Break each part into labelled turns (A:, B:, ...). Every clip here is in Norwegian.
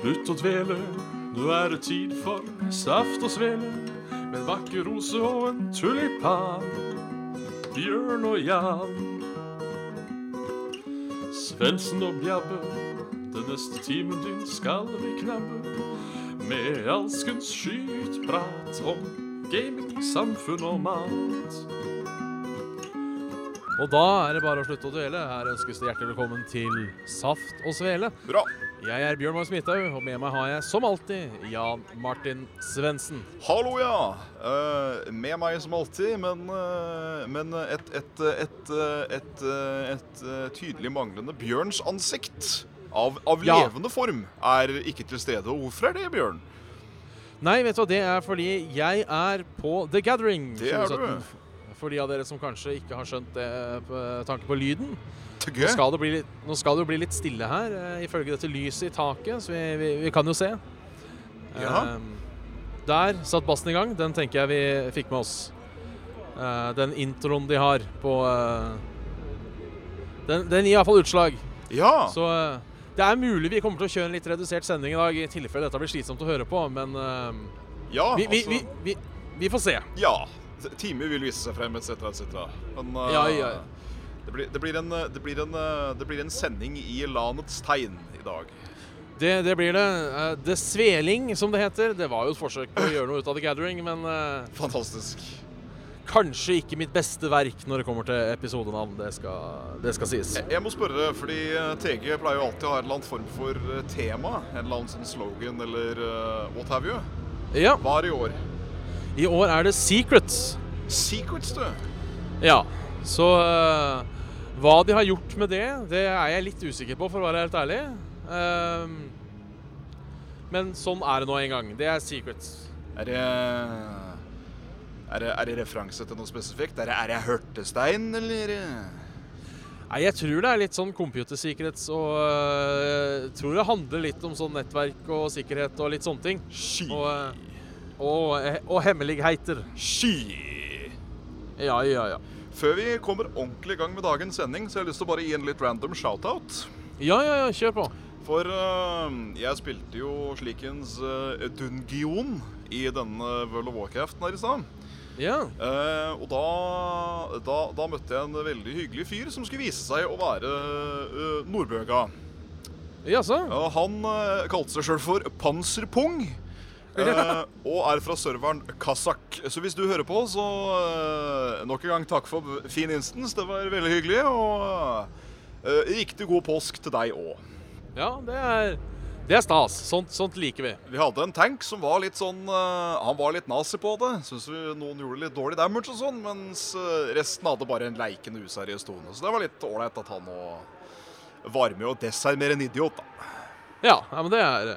A: Slutt å dvele, nå er det tid for saft og svele. Med en vakker rose og en tulipan. Bjørn og Jan. Svendsen og Bjabbe, den neste timen din skal vi knabbe. Med alskens skytprat om gaming, samfunn og mat.
B: Og da er det bare å slutte å duelle. Her ønskes det hjertelig velkommen til Saft og Svele.
C: Bra.
B: Jeg er Bjørn Magnus Midthaug, og med meg har jeg som alltid Jan Martin Svendsen.
C: Hallo, ja. Eh, med meg som alltid, men, eh, men et, et, et, et, et, eh, tydelig manglende Bjørns ansikt av, av
B: Ja.
C: levende form er ikke til stede. Og hvorfor er det, Bjørn?
B: Nei, vet du hva, det er fordi jeg er på The Gathering
C: Det er du.
B: For de av dere som kanskje ikke har skjønt det med tanke på lyden.
C: Tøgge?
B: Nå skal det bli litt, nå skal det jo bli litt stille her, eh, ifølge dette lyset i taket, så vi, vi, vi kan jo se.
C: Ja.
B: Eh, der satt bassen i gang. Den tenker jeg vi fikk med oss. Eh, den introen de har på eh, den, den gir iallfall utslag.
C: Ja.
B: Så eh, det er mulig vi kommer til å kjøre en litt redusert sending i dag, i tilfelle dette blir slitsomt å høre på, men eh,
C: ja,
B: vi, vi,
C: altså,
B: vi, vi, vi får se.
C: ja. Time vil vise seg frem, etc., etc. Men eh,
B: Ja, ja.
C: Det, blir, det, blir en, eh, det, blir en, eh, det blir en sending i lanets tegn i dag.
B: Det, det blir det. Eh, det sveling, som det heter. Det var jo et forsøk på å gjøre noe ut av The Gathering, men eh,
C: Fantastisk.
B: kanskje ikke mitt beste verk når det kommer til episodenavn. Det skal, det skal sies.
C: Jeg må spørre, fordi eh, TG pleier jo alltid å ha en eller annen form for eh, tema. En eller annen sånn slogan eller eh, what have you.
B: Ja,
C: Hva er i år?
B: i år er det Secrets.
C: Secrets, du.
B: Ja, så eh, hva de har gjort med det, det er jeg litt usikker på, for å være helt ærlig. Ehm, men sånn er det nå en gang. Det er Secrets.
C: Er det er det, er det referanse til noe spesifikt? Er det, er det hørtestein, eller? eh,
B: Nei, jeg tror det er litt sånn computersikkerhets og eh, tror det handler litt om sånn nettverk og sikkerhet og litt sånne ting.
C: Sky.
B: Og, eh, og, eh, og hemmeligheter.
C: Sky.
B: Ja, ja, ja.
C: Før vi kommer ordentlig i gang med dagens sending, så har jeg lyst til å bare gi en litt random shout-out.
B: Ja, ja, ja, kjør på.
C: For eh, jeg spilte jo slikens uh, Dungeon i denne World of Warcraften her i stad.
B: Ja.
C: Eh, og da, da, da møtte jeg en veldig hyggelig fyr som skulle vise seg å være eh, nordbøga.
B: Jaså?
C: Ja, han eh, kalte seg sjøl for Panserpung. eh, og er fra serveren Kazak. Så hvis du hører på, så eh, nok en gang takk for fin instance. Det var veldig hyggelig. Og eh, riktig god påsk til deg òg.
B: Ja, det er, det er stas. Sånt, sånt liker vi.
C: Vi hadde en tank som var litt sånn eh, Han var litt nazi på det. Syns vi noen gjorde litt dårlig damage og sånn, mens eh, resten hadde bare en leikende useriøs tone. Så det var litt ålreit at han òg var med å desarmere en idiot, da.
B: Ja, ja men det er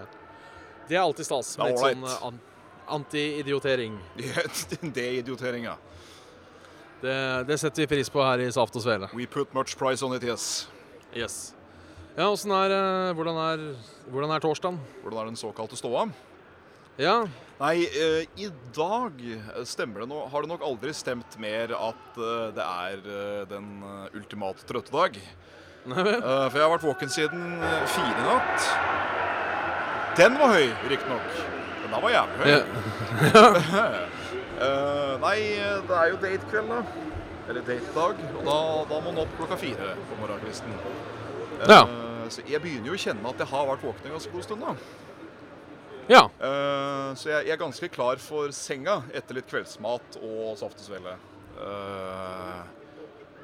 B: Det er alltid stas.
C: Det
B: Med
C: er
B: litt sånn
C: ålreit.
B: eh, an, anti-idiotering.
C: det er idiotering, ja.
B: Det, det setter vi pris på her i Saft og Svele.
C: We put much price on it, yes.
B: Yes. Ja, åssen er, eh, hvordan er Hvordan er torsdagen?
C: Hvordan er den såkalte ståa?
B: Ja.
C: Nei, eh, i dag stemmer det nå Har det nok aldri stemt mer at eh, det er eh, den eh, ultimate trøttedag.
B: Nei vel.
C: Eh, for jeg har vært våken siden eh, fire i natt. Den var høy, riktignok. Men den var jævlig høy.
B: Ja.
C: Eh, nei, eh, det er jo datekveld, da. Eller datedag. Og da, da må man opp klokka fire på morgenkvisten. Eh,
B: Ja.
C: Så jeg begynner jo å kjenne at jeg har vært våken en ganske god stund. da.
B: ja.
C: Eh, så jeg, jeg er ganske klar for senga etter litt kveldsmat og saft og svele. Eh,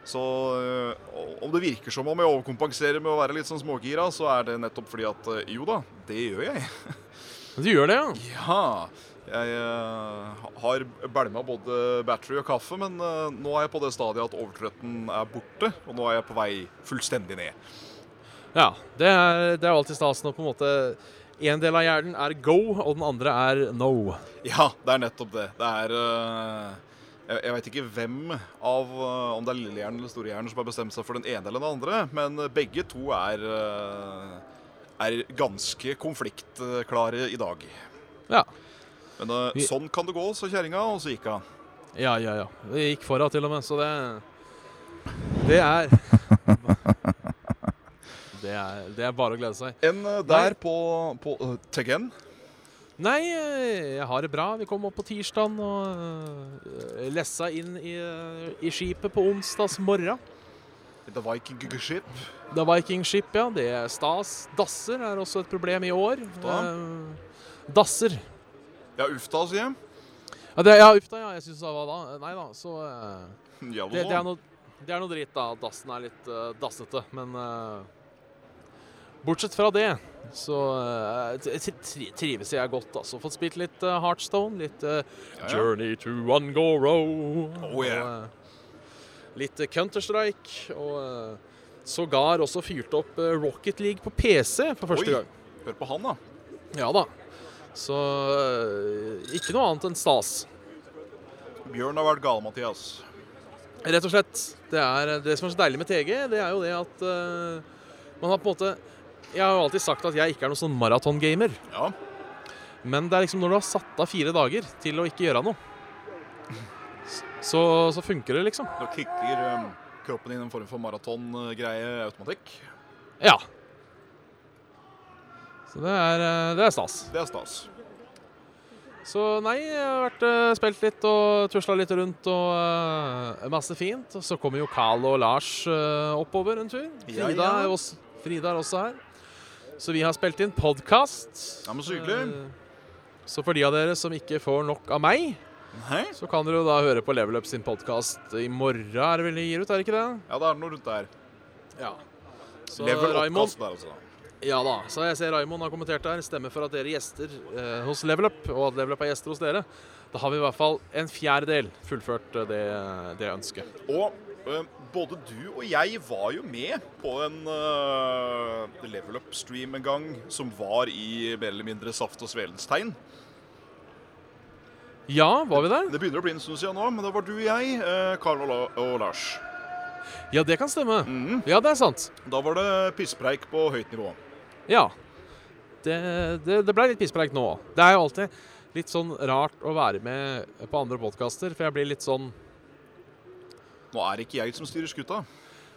C: så eh, om det virker som om jeg overkompenserer med å være litt sånn smågira, så er det nettopp fordi at eh, jo da, det gjør jeg.
B: Du gjør det, ja?
C: Ja. Jeg eh, har bælma både battery og kaffe, men eh, nå er jeg på det stadiet at overtrøtten er borte, og nå er jeg på vei fullstendig ned.
B: Ja. Det er, det er alltid stas når på en måte en del av hjernen er go, og den andre er no.
C: Ja, det er nettopp det. Det er eh, Jeg, jeg veit ikke hvem av eh, om det er lillehjernen eller storehjernen som har bestemt seg for den ene eller den andre, men eh, begge to er eh, er ganske konfliktklare i dag.
B: Ja.
C: Men eh,
B: Vi-
C: sånn kan det gå, sa kjerringa, og så gikk hun.
B: Ja, ja, ja. Det gikk foran til og med, så det Det er det er, det er bare å glede seg.
C: En eh, der på, på eh, Teggen.
B: Nei, eh, jeg har det bra. Vi kom opp på tirsdag og eh, lessa inn i, eh, i skipet på onsdags morgen.
C: The Viking Ship.
B: Da Vikingskip, ja. Det er stas. Dasser er også et problem i år. Eh, dasser.
C: Ja, uff da, sier jeg.
B: Ja, det, ja, uff da, ja. Jeg syns det var da. Nei da, så eh,
C: Ja,
B: det, det, er
C: noe...
B: noe, det er noe dritt, da. at Dassen er litt eh, dassete. Men eh, bortsett fra det så eh, t- t- tri trives jeg godt. altså. Fått spilt litt eh, Heartstone, litt eh,
C: Ja, ja.
B: Journey to Ungoro.
C: Oh, yeah.
B: og, eh, litt eh, Counter-Strike. Og eh, sågar også fyrt opp eh, Rocket League på PC for første
C: Oi.
B: gang.
C: Hør på han, da.
B: Ja da. Så eh, ikke noe annet enn stas.
C: Bjørn har vært gal, Mathias.
B: Rett og slett. Det, er, eh, det som er så deilig med TG, det er jo det at eh, man har på en måte Jeg har jo alltid sagt at jeg ikke er noen sånn maratongamer.
C: Ja.
B: Men det er liksom når du har satt av fire dager til å ikke gjøre noe, s- så, så funker det, liksom.
C: Nå kicker eh, kroppen din en form for maratongreie automatikk.
B: Ja. Så det er, eh, det er stas.
C: Det er stas.
B: Så nei, jeg har vært eh, spilt litt og tusla litt rundt og eh, masse fint. Og så kommer jo Carl og Lars eh, oppover en tur.
C: Ja,
B: Frida,
C: ja.
B: Er også, Frida er også her. Så vi har spilt inn podkast.
C: Ja, men så hyggelig.
B: så for de av dere som ikke får nok av meg,
C: Nei?
B: så kan dere jo da høre på Level Up sin podkast i morgen. er det vel de gir ut, er det ikke det?
C: Ja, det er noe rundt der.
B: Ja. Så
C: Level
B: Raimond
C: oppkast der, altså.
B: ja da. Så jeg ser Raimond har kommentert der. Stemmer for at dere gjester eh, hos Level Up, og at Level Up er gjester hos dere. Da har vi i hvert fall en fjerdedel fullført eh, det, det ønsket.
C: Og eh, både du og jeg var jo med på en eh, level up-stream en gang som var i mer eller mindre saft og svelens tegn.
B: Ja, var vi der?
C: Det begynner å bli en stund siden nå, men det var du og jeg, eh, Karl og, La og Lars.
B: Ja, det kan stemme.
C: Mhm.
B: Ja, det er sant.
C: Da var det pisspreik på høyt nivå.
B: Ja. Det, det, det ble litt pisspreik nå. Det er jo alltid litt sånn rart å være med på andre podkaster, for jeg blir litt sånn
C: Nå er det ikke jeg som styrer skuta.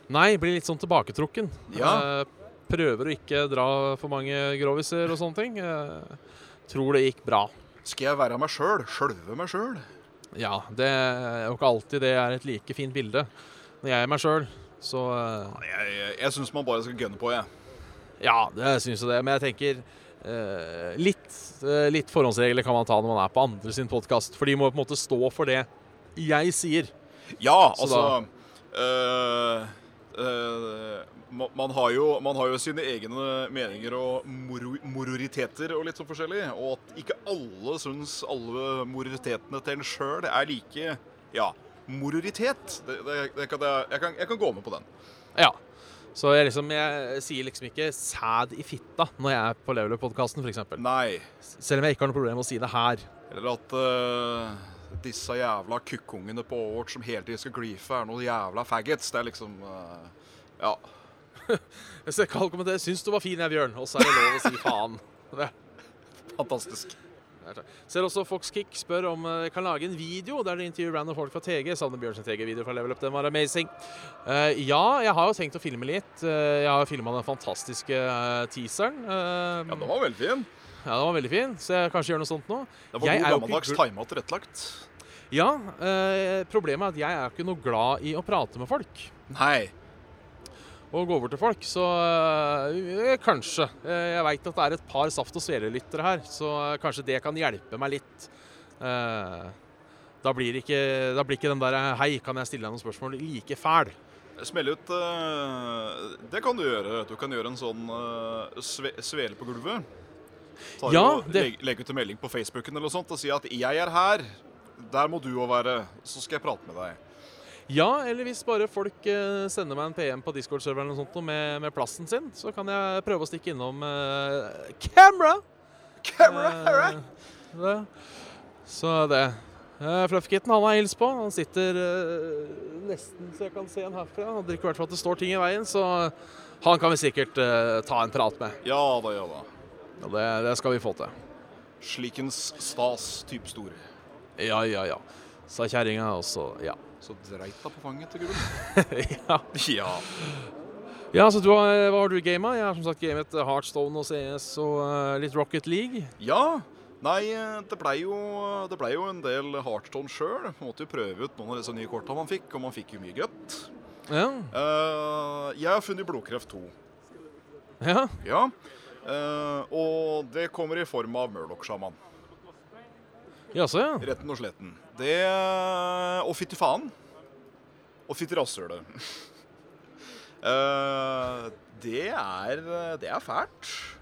B: Nei, blir litt sånn tilbaketrukken.
C: Ja.
B: Eh, prøver å ikke dra for mange groviser og sånne ting. Eh, tror det gikk bra.
C: Skal jeg være meg sjøl? Sjølve meg sjøl?
B: Ja, det er jo ikke alltid det er et like fint bilde. Når jeg er meg sjøl, så eh,
C: Jeg, jeg, jeg syns man bare skal gønne på, jeg.
B: Ja, det syns jeg det. Men jeg tenker eh, litt, eh, litt forhåndsregler kan man ta når man er på andre sin podkast. For de må på en måte stå for det jeg sier.
C: Ja,
B: Så
C: altså øh, øh, ma- man, har jo, man har jo sine egne meninger og moro- mororiteter og litt sånn forskjellig. Og at ikke alle syns alle mororitetene til en sjøl er like Ja, mororitet. Det, det, det kan, jeg, jeg, kan, jeg kan gå med på den.
B: Ja. Så jeg, liksom, jeg sier liksom ikke 'sæd i fitta' når jeg er på Leveler-podkasten, f.eks.
C: Nei.
B: Selv om jeg ikke har noe problem med å si det her.
C: Eller at øh, disse jævla kukkungene på Overwatch som hele tiden skal glife, er noen jævla faggots. Det er liksom øh, Ja.
B: Jeg ser Karl kommentere 'syns du var fin, jeg, Bjørn', og så er det lov å si faen. Det
C: Fantastisk.
B: Der, takk. Ser også Fox Kick spør om eh, kan lage en video der de intervjuer random folk fra TG. Savner Bjørnsen TG-video fra Level Up, den var amazing. Eh, ja, jeg har jo tenkt å filme litt. Eh, jeg har filma den fantastiske eh, teaseren. Eh,
C: Ja, den var veldig fin.
B: ja, den var veldig fin, så jeg kanskje gjør noe sånt nå.
C: Det var
B: Jeg
C: god
B: er jo
C: gammeldags
B: ikke-
C: tima tilrettelagt.
B: Ja, eh, problemet er at jeg er ikke noe glad i å prate med folk.
C: Nei.
B: Og gå over til folk, så eh, kanskje. Eh, jeg veit at det er et par Saft og Svele-lyttere her, så eh, kanskje det kan hjelpe meg litt. Eh, da, blir det ikke, da blir ikke den der eh, 'hei, kan jeg stille deg noen spørsmål' like fæl.
C: Smell ut eh, Det kan du gjøre. Du kan gjøre en sånn eh, sve, svele på gulvet. Ta
B: Ja,
C: og
B: det-
C: legge, legge ut en melding på Facebooken eller noe sånt og si at 'jeg er her', der må du òg være. Så skal jeg prate med deg.
B: Ja, eller hvis bare folk eh, sender meg en PM på Discord-serveren eller noe sånt noe med, med plassen sin, så kan jeg prøve å stikke innom eh, camera.
C: Camera,
B: Eh, det. Så det. Uh, Fluffkitten han har hils på. Han sitter eh, nesten så jeg kan se han herfra. Han drikker i hvert fall at det står ting i veien, så han kan vi sikkert eh, ta en prat med.
C: Ja da, ja da.
B: Og det, det skal vi få til.
C: Slikens stas type stor.
B: Ja, ja, ja. Sa kjerringa også. Ja.
C: Så dreit deg på fanget til gulvet.
B: ja.
C: Ja.
B: Ja, så du har, eh, hva har du gama? Jeg har som sagt gamet Heartstone og CS og eh, litt Rocket League.
C: Ja. Nei, eh, det blei jo, det ble jo en del Heartstone sjøl. Måtte jo prøve ut noen av disse nye korta man fikk, og man fikk jo mye gøtt.
B: Ja.
C: Eh, jeg har funnet blodkreft 2.
B: ja.
C: Ja. Eh, og det kommer i form av Murloc-sjaman.
B: Jaså, ja.
C: Retten og sletten. Det Og fytti faen. Og fytti rasshølet. Eh, det er Det er fælt.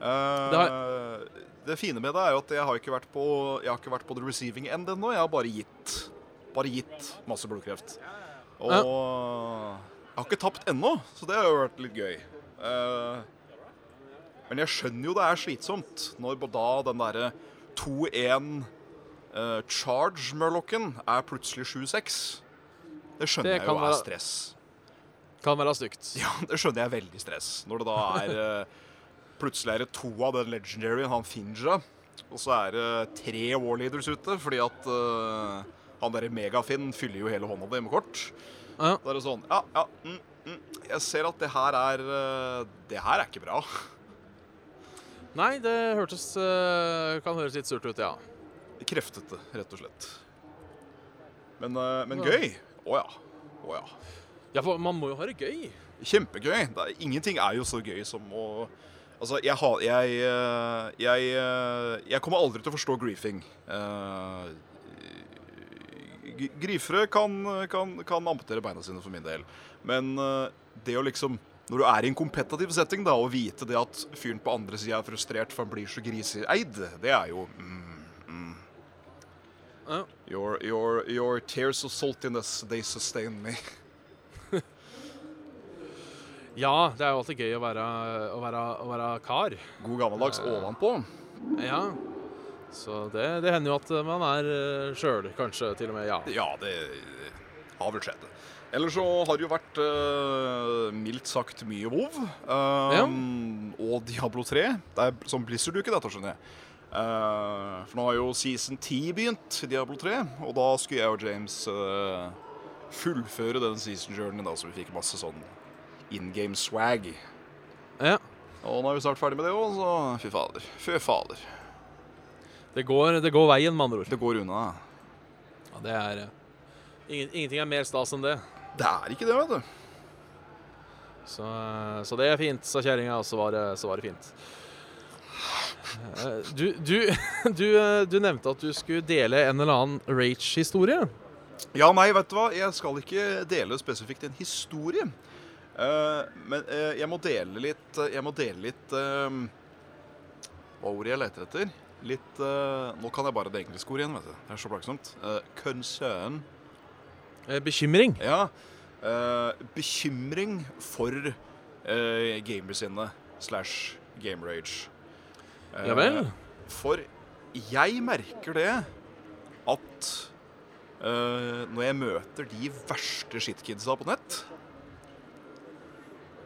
C: Eh,
B: Det
C: det fine med det er jo at jeg har ikke vært på Jeg har ikke vært på the receiving end ennå. Jeg har bare gitt. Bare gitt masse blodkreft. Og
B: Ja.
C: jeg har ikke tapt ennå, så det har jo vært litt gøy. Eh, men jeg skjønner jo det er slitsomt når da den derre 2-1 Eh, Charge-murlocken er plutselig 7-6. Det skjønner
B: Det
C: jeg jo
B: kan
C: er
B: være-
C: stress.
B: Kan være stygt.
C: Ja, det skjønner jeg er veldig stress. Når det da er eh, plutselig er det to av den legendaryen, han Finja, og så er det tre warleaders ute, fordi at eh, han derre Megafinn fyller jo hele hånda di med kort.
B: Ja.
C: Da er det sånn Ja, ja. Mm, mm. Jeg ser at det her er eh, Det her er ikke bra.
B: Nei, det hørtes eh, Kan høres litt surt ut, ja.
C: Kreftete, rett og slett. Men, eh, men
B: Ja.
C: gøy. Å ja. Å ja.
B: Ja, for man må jo ha det gøy.
C: Kjempegøy. Det er, ingenting er jo så gøy som å Altså, jeg har jeg, eh, jeg eh, Jeg kommer aldri til å forstå griefing. Eh, g- Grifere kan, kan, kan amputere beina sine for min del. Men eh, det å liksom Når du er i en kompetitiv setting, da, og vite det at fyren på andre sida er frustrert for han blir så griseeid, det er jo mm, mm.
B: Ja.
C: Your, your, your tears of saltiness, they sustain me.
B: ja, det er jo alltid gøy å være, å være, å være kar.
C: God gammeldags ovenpå.
B: Ja. Så det, det hender jo at eh, man er uh, sjøl, kanskje til og med. Ja.
C: Ja, det har vel skjedd. Eller så har det jo vært eh, mildt sagt mye WoW. eh, Og Diablo 3. Det er som Blizzard-uke, dette, skjønner jeg. Eh, for nå har jo season 10 begynt i Diablo 3, og da skulle jeg og James eh, fullføre den season-journeyen, da, så vi fikk masse sånn in game swag.
B: ja.
C: Og nå er vi snart ferdig med det òg, så fy fader. Fy fader.
B: Det, går, det går veien, med andre ord.
C: Det går unna.
B: Ja, det er eh, ingen, Ingenting er mer stas enn det.
C: Det er ikke det, vet du.
B: Så, eh, så det er fint, sa kjerringa, og så var det, så var det fint. Eh, Du, du, du, eh, du nevnte at du skulle dele en eller annen rage-historie.
C: Ja, nei, vet du hva? Jeg skal ikke dele spesifikt en historie. Eh, men eh, jeg må dele litt Jeg må dele litt eh, Hva er ordet jeg leter etter? Litt eh, Nå kan jeg bare det engelske ordet igjen, vet du. Det er så plagsomt. Eh, concern.
B: Eh, Bekymring.
C: Ja. eh, bekymring for uh, gamersinnet slash gamerage. Uh,
B: Ja vel?
C: for jeg merker det at eh, når jeg møter de verste shitkidsa på nett,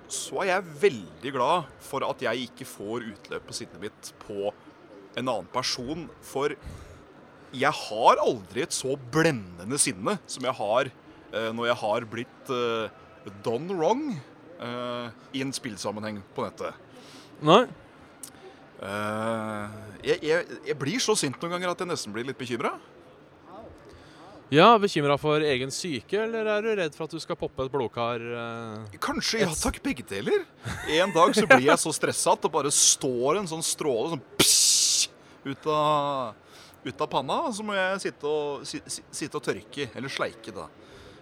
C: så er jeg veldig glad for at jeg ikke får utløp på sinnet mitt på en annen person. For jeg har aldri et så blendende sinne som jeg har eh, når jeg har blitt eh, done wrong eh, i en spillsammenheng på nettet.
B: Nei?
C: Eh, jeg, jeg, jeg blir så sint noen ganger at jeg nesten blir litt bekymra.
B: Ja, Bekymra for egen syke, eller er du redd for at du skal poppe et blodkar? eh?
C: Kanskje ja takk, begge deler. En dag så blir jeg så stressa at det bare står en sånn stråle sånn pss, ut av ut av panna, og så må jeg sitte og, si, si, sitte og tørke, eller sleike, da.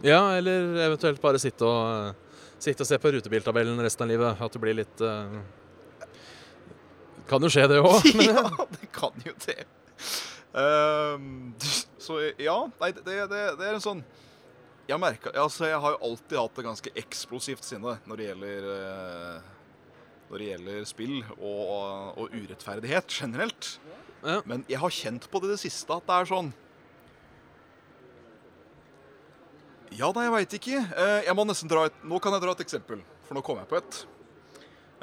B: Ja, eller eventuelt bare sitte og, eh, sitte og se på rutebiltabellen resten av livet. At du blir litt eh, Kan jo skje, det òg.
C: ja, det kan jo det. Ehm, så ja, nei, det, det, det er en sånn Jeg merker, altså jeg har jo alltid hatt et ganske eksplosivt sinne når det gjelder eh, Når det gjelder spill og, og urettferdighet generelt.
B: Ja.
C: Men jeg har kjent på det i det siste at det er sånn Ja, nei, jeg veit ikke. Eh, Jeg må nesten dra et, nå kan jeg dra et eksempel, for nå kom jeg på et.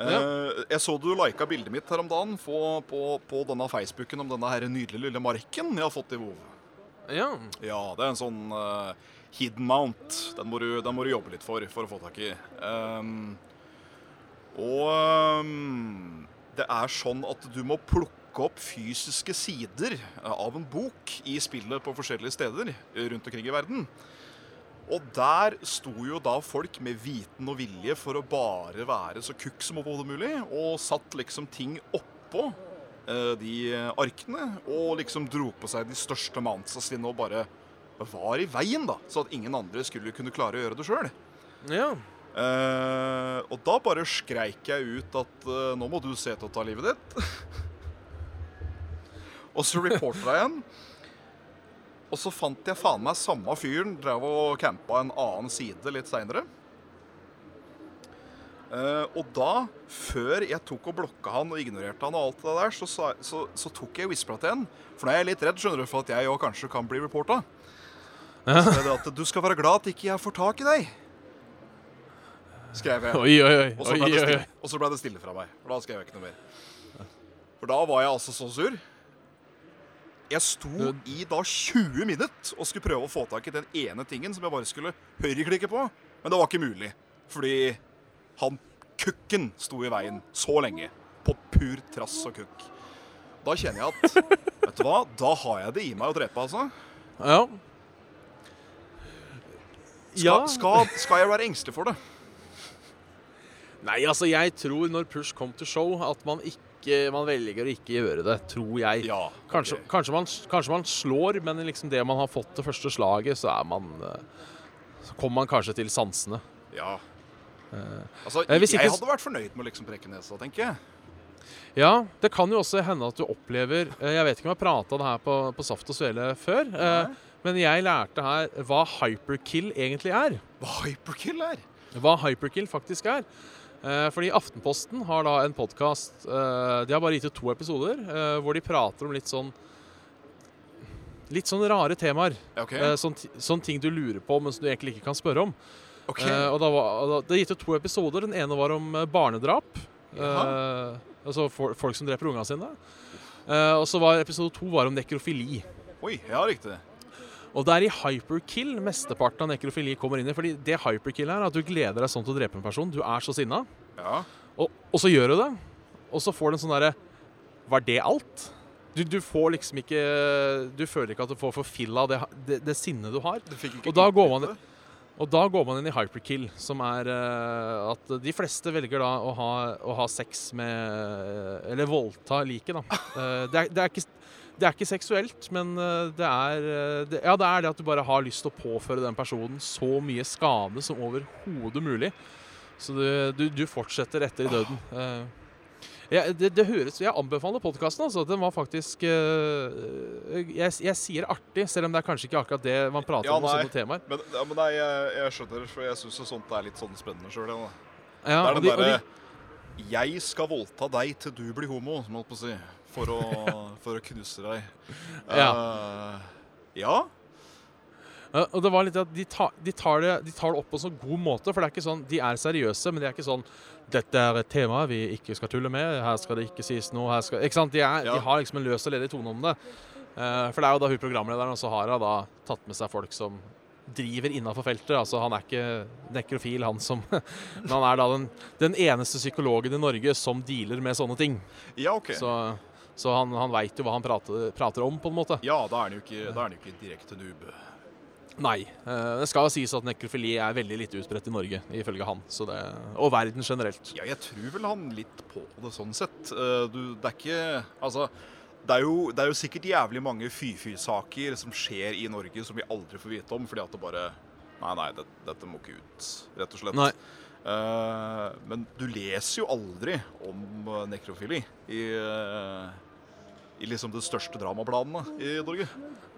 C: Eh, Jeg så du lika bildet mitt her om dagen på, på, på denne Facebooken om denne her nydelige lille marken jeg har fått i WoW.
B: Ja.
C: Ja, det er en sånn eh, hidden mount. Den må, du, den må du jobbe litt for for å få tak i. Ehm, Og ehm, det er sånn at du må plukke opp fysiske sider eh, av en bok i spillet på forskjellige steder eh, rundt omkring i verden. Og der sto jo da folk med viten og vilje for å bare være så kukk som overhodet mulig, og satt liksom ting oppå eh, de arkene, og liksom dro på seg de største mountsa sine og bare var i veien, da, så at ingen andre skulle kunne klare å gjøre det sjøl.
B: Ja.
C: Eh, og da bare skreik jeg ut at eh, nå må du se til å ta livet ditt. og så reportera jeg en. Og så fant jeg faen meg samme fyren drev og campa en annen side litt seinere. og da, før jeg tok og blokka han og ignorerte han og alt det der, så, sa, så, så tok jeg whispera til han. For nå er jeg litt redd, skjønner du, for at jeg òg kanskje kan bli reporta. Så er det at du skal være glad at ikke jeg får tak i deg, skrev jeg.
B: Oi, oi, oi.
C: Og så
B: oi,
C: ble det
B: oi,
C: stille,
B: oi.
C: og så ble det stille fra meg. For da skrev jeg ikke noe mer. For da var jeg altså så sur. Jeg sto i da 20 minutter og skulle prøve å få tak i den ene tingen som jeg bare skulle høyreklikke på. Men det var ikke mulig. Fordi han kukken sto i veien så lenge. På pur trass og kukk. Da kjenner jeg at Vet du hva? Da har jeg det i meg å drepe, altså.
B: Ja.
C: Skal, skal, skal jeg være engstelig for det?
B: Nei, altså, jeg tror når push kom to show, at man ikke Man velger å ikke gjøre det, tror jeg.
C: Ja.
B: Kanskje,
C: ok.
B: kanskje, man, kanskje man slår, men liksom det man har fått det første slaget, så er man eh, Så kommer man kanskje til sansene.
C: Ja. Altså,
B: eh,
C: jeg,
B: hvis ikke s-
C: hadde vært fornøyd med å liksom brekke nesa, tenker jeg.
B: Ja, det kan jo også hende at du opplever eh, Jeg vet ikke om jeg har prata det her på, på Saft og Svele før, eh, men jeg lærte her hva hyperkill egentlig er.
C: Hva hyperkill er?
B: hva hyperkill faktisk er. Eh, Fordi Aftenposten har da en podkast De har bare gitt ut to episoder eh, hvor de prater om litt sånn Litt sånn rare temaer.
C: Ok,
B: eh, Sånn, ti- sånn ting du lurer på, men som du egentlig ikke kan spørre om.
C: ok.
B: Eh, Og da var, og da, Det er gitt ut to episoder. Den ene var om eh, barnedrap.
C: Jaha.
B: eh, Altså for, folk som dreper ungene sine. Eh, Og så var episode to var om nekrofili.
C: Oi, ja, riktig.
B: Og det er i hyperkill mesteparten av nekrofili kommer inn i. Fordi det hyperkill er at du gleder deg sånn til å drepe en person. Du er så sinna.
C: Ja.
B: Og, og så gjør du det, og så får du en sånn derre Var det alt? Du, du får liksom ikke Du føler ikke at du får forfilla det, det, det sinnet du har.
C: Du fikk ikke
B: Og da går
C: utbytte.
B: man- Og da går man inn i hyperkill, som er eh, at de fleste velger da å ha, å ha sex med eh, Eller voldta liket, da. Eh, det, er, det, er ikke, det er ikke seksuelt, men eh, det er eh, det, Ja, det er det at du bare har lyst til å påføre den personen så mye skade som overhodet mulig. Så du, du, du fortsetter etter i døden. Eh, ja, det, det høres Jeg anbefaler podkasten, altså. Den var faktisk eh, jeg, jeg sier artig, selv om det er kanskje ikke akkurat det man prater
C: Ja,
B: om i
C: nei.
B: sånne temaer.
C: Men, ja, men nei, jeg, jeg skjønner, for jeg syns sånt er litt sånn spennende sjøl.
B: Ja,
C: det er
B: og
C: den
B: de- og de-
C: derre 'Jeg skal voldta deg til du blir homo', som jeg holdt på å si. For å, for å knuse deg. Eh, ja.
B: Ja, Og det var litt at de tar, de, tar det, de tar det opp på en så god måte, for det er ikke sånn, de er seriøse, men de er ikke sånn 'Dette er et tema vi ikke skal tulle med. Her skal det ikke sies noe.' her skal... Ikke sant? De, er,
C: Ja.
B: de har liksom en løs og ledig tone om det. Eh, for det er jo da hun programlederen og Sahara da tatt med seg folk som driver innafor feltet. Altså Han er ikke nekrofil, han som Men han er da den, den eneste psykologen i Norge som dealer med sånne ting.
C: Ja, OK.
B: Så, så han, han veit jo hva han prater, prater om, på en måte.
C: Ja, da er han jo ikke, da er han jo ikke direkte noob.
B: Nei. eh, Det skal jo sies at nekrofili er veldig lite utbredt i Norge, ifølge han. Så det, og verden generelt.
C: Ja, jeg tror vel han litt på det sånn sett. Eh, Du, det er ikke Altså, det er jo, det er jo sikkert jævlig mange fy-fy-saker som skjer i Norge som vi aldri får vite om, fordi at det bare Nei, nei, det, dette må ikke ut, rett og slett.
B: Nei.
C: Eh, men du leser jo aldri om eh, nekrofili i, eh, i liksom det største dramabladene i Norge.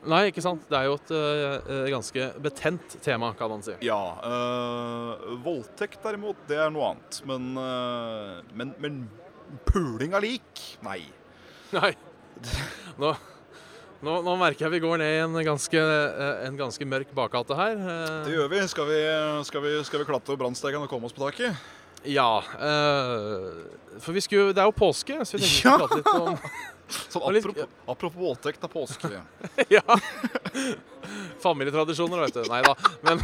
B: Nei, ikke sant? Det er jo et eh, eh, ganske betent tema, kan man si.
C: Ja. eh, voldtekt, derimot, det er noe annet. Men, eh, men, men puling av lik? Nei.
B: Nei. Nå, nå, nå merker jeg vi går ned i en ganske, eh, en ganske mørk bakgate her. eh.
C: Det gjør vi. Skal vi, skal vi, skal vi klatre brannstegen og komme oss på taket?
B: Ja. eh, for vi skulle Det er jo påske, så vi tenkte vi
C: Ja.
B: skulle prate litt om
C: Sånn
B: Og litt-
C: apropos, apropos voldtekt av påske.
B: Ja. Familietradisjoner, vet du. Nei da. Men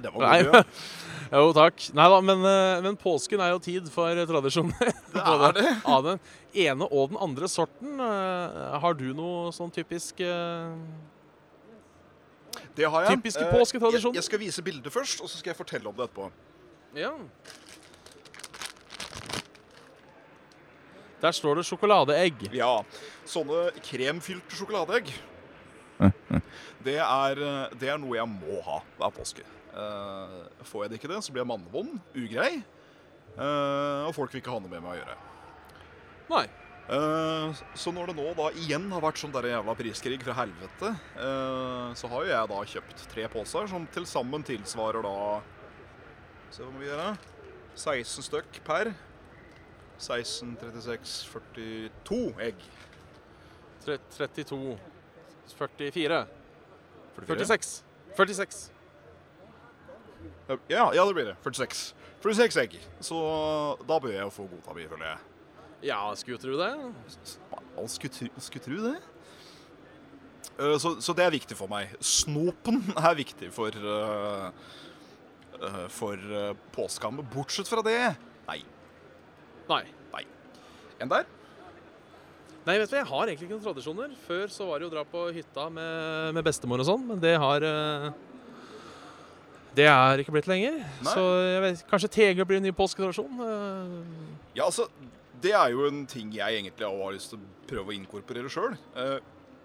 C: Det var
B: Nei,
C: god, ja.
B: Jo, takk. Nei da, men, eh, men påsken er jo tid for tradisjoner.
C: Det
B: Både
C: er det.
B: Av den ene og den andre sorten. Eh, Har du noe sånn typisk eh,
C: Det har jeg.
B: Typiske
C: Eh,
B: påsketradisjoner.
C: Jeg, jeg skal vise bildet først, og så skal jeg fortelle om det etterpå.
B: Ja. Der står det sjokoladeegg.
C: Ja, sånne kremfylte sjokoladeegg. Det er, eh, det er noe jeg må ha hver påske. Eh, får jeg det ikke det, så blir jeg mannevond, ugrei, eh, og folk vil ikke ha noe med meg å gjøre.
B: Nei.
C: Eh, Så når det nå da igjen har vært sånn der jævla priskrig fra helvete, eh, så har jo jeg da kjøpt tre poser som til sammen tilsvarer da Se hva må vi gjøre? 16 stykk per. 16, 36, 42 egg.
B: Tre- 32 44 46. 46.
C: Ja, ja, det blir det. 46. 46 egg. Så da bør jeg jo få godta mi, føler jeg.
B: Ja, skulle tro det.
C: Man skulle tru, skulle tru det. Eh, Så, så det er viktig for meg. Snopen er viktig for eh, eh, For eh, påska. Men bortsett fra det Nei.
B: Nei.
C: En der?
B: Nei, vet du, Jeg har egentlig ikke noen tradisjoner. Før så var det jo å dra på hytta med, med bestemor og sånn, men det har eh, Det er ikke blitt lenger.
C: Nei.
B: Så jeg vet, kanskje Tege blir en ny påsketradisjon. eh.
C: Ja, altså Det er jo en ting jeg egentlig også har lyst til å prøve å inkorporere sjøl.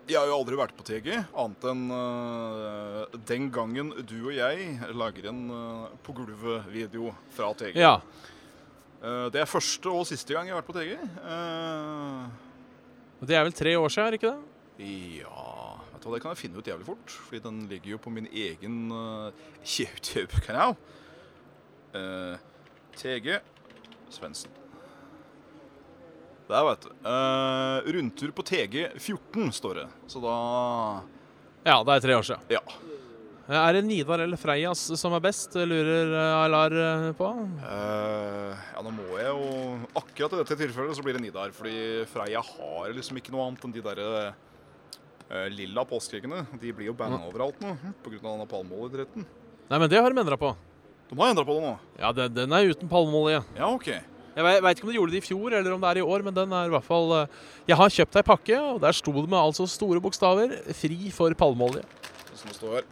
C: Jeg har jo aldri vært på TG, annet enn eh, den gangen du og jeg lager en eh, på gulvet-video fra TG.
B: Ja.
C: Eh, Det er første og siste gang jeg har vært på TG. Eh,
B: Det er vel tre år siden, er det ikke det?
C: Ja vet du hva, Det kan jeg finne ut jævlig fort, fordi den ligger jo på min egen eh, YouTube-kanal. Eh, TG Svendsen. Der, vet du. Eh, rundtur på TG14, står det. Så da
B: Ja, det er tre år siden.
C: Ja.
B: Er det Nidar eller Freias som er best, lurer eh, Aylar eh, på?
C: Eh, ja, nå må jeg jo Akkurat i dette tilfellet så blir det Nidar, fordi Freia har liksom ikke noe annet enn de derre eh, lilla påskeeggene. De blir jo banna overalt nå hm, pga. denne palmeoljedritten.
B: Nei, men det har de endra på.
C: De har endra på det nå.
B: Ja, den, den er uten palmeolje.
C: Ja, OK.
B: Jeg vei- vet ikke om de gjorde det i fjor eller om det er i år, men den er i hvert fall eh, Jeg har kjøpt ei pakke, og der sto det med altså store bokstaver 'fri for palmeolje'.
C: Sånn som det står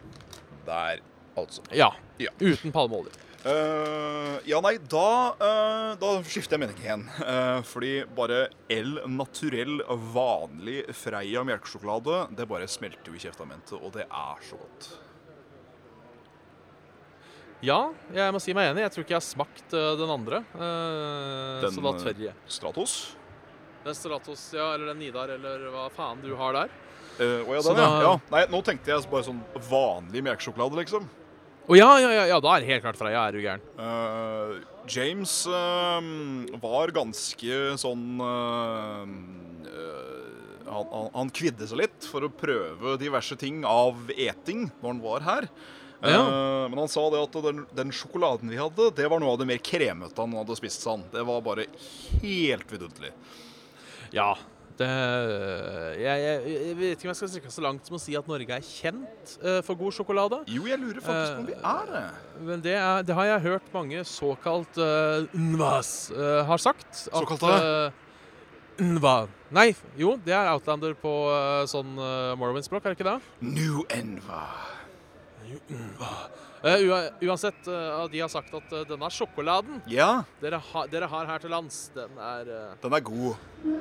C: der, altså.
B: Ja.
C: Ja.
B: Uten palmeolje.
C: Eh, ja, nei, da, eh, da skifter jeg mening igjen. Eh, fordi bare El Naturell vanlig Freia melkesjokolade, det bare smelter jo i kjeftamentet, og det er så godt.
B: Ja, jeg må si meg enig. Jeg tror ikke jeg har smakt eh, den andre. eh,
C: Den,
B: så da
C: eh,
B: tør jeg.
C: Stratos.
B: Den Stratos, ja, eller den Nidar, eller hva faen du har der.
C: Eh, å ja,
B: Så
C: den, ja.
B: da-
C: ja. Nei, nå tenkte jeg bare sånn vanlig melkesjokolade, liksom.
B: Å ja, ja, ja, ja, da er det helt klart Freia. Er du gæren.
C: Eh, James eh, var ganske sånn eh, eh, han, han, han kvidde seg litt for å prøve diverse ting av eting når han var her. Eh,
B: Ja.
C: men han sa det at den, den sjokoladen vi hadde, det var noe av det mer kremete han hadde spist. Sånn. Det var bare helt vidunderlig.
B: Ja. Det, jeg, jeg, jeg vet ikke om jeg skal strekke meg så langt som å si at Norge er kjent eh, for god sjokolade.
C: Jo, jeg lurer faktisk på om vi er det.
B: Men det, er, det har jeg hørt mange såkalt uh, NVAS eh, har sagt.
C: Såkalte?
B: eh, NVA. Nei, jo, det er Outlander på eh, sånn uh, Morrowind-språk, er det ikke det?
C: New Enva.
B: Eh, ua- uansett, eh, de har sagt at eh, denne sjokoladen
C: Ja,
B: dere, ha, dere har her til lands, den er, eh,
C: den er god.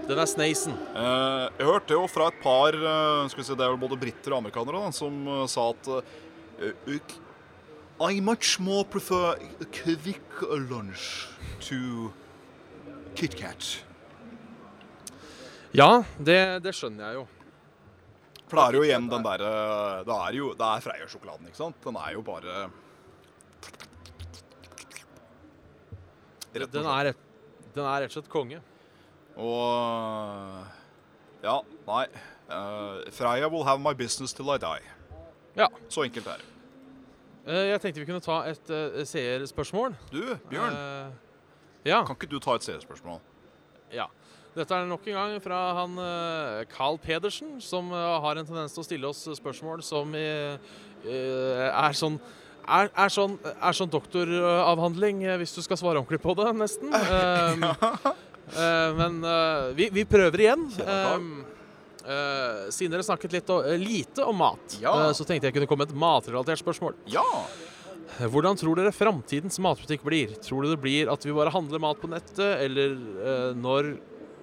B: den er sneisen.
C: Eh, Jeg hørte jo fra et par eh, skal vi si, Det er vel både britter og amerikanere da, som eh, sa at eh, «Ik- I much more prefer a quick lunch to KitKat.
B: Ja, det, det skjønner jeg jo.
C: For det er jo igjen den derre Det er jo det er Freia-sjokoladen, ikke sant? Den er jo bare Rett og
B: Den
C: slett.
B: er, rett- den er rett og slett konge.
C: Og Ja, nei. eh, Freia will have my business till I die.
B: Ja.
C: Så enkelt er det.
B: Eh, Jeg tenkte vi kunne ta et eh, seerspørsmål.
C: Du, Bjørn.
B: Eh, ja.
C: Kan ikke du ta et seriespørsmål?
B: ja. Dette er nok en gang fra han eh, Carl Pedersen, som eh, har en tendens til å stille oss spørsmål som eh, eh, er sånn er, er, sånn, er sånn doktoravhandling eh, hvis du skal svare ordentlig på det, nesten. Um, eh, men eh, vi, vi prøver igjen.
C: Kjempetak.
B: Um, eh, siden dere snakket litt o- eh, lite om mat,
C: Ja.
B: eh, så tenkte jeg kunne komme med et matrelatert spørsmål.
C: Ja.
B: Eh, Hvordan tror dere framtidens matbutikk blir? Tror du det blir at vi bare handler mat på nettet, eller eh, når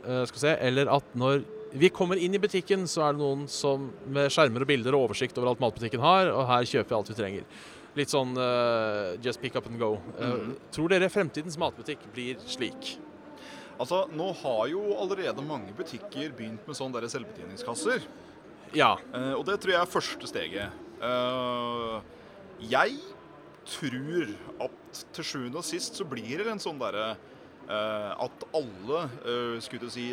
B: eh, Skal vi se Eller at når vi kommer inn i butikken, så er det noen som med skjermer og bilder og oversikt over alt matbutikken har, og her kjøper vi alt vi trenger. Litt sånn eh, just pick up and go. Eh, Tror dere fremtidens matbutikk blir slik?
C: Altså, nå har jo allerede mange butikker begynt med sånne der selvbetjeningskasser.
B: Ja.
C: Eh, og det tror jeg er første steget. Eh, jeg tror at til sjuende og sist så blir det en sånn derre eh, at alle eh, skulle jeg si,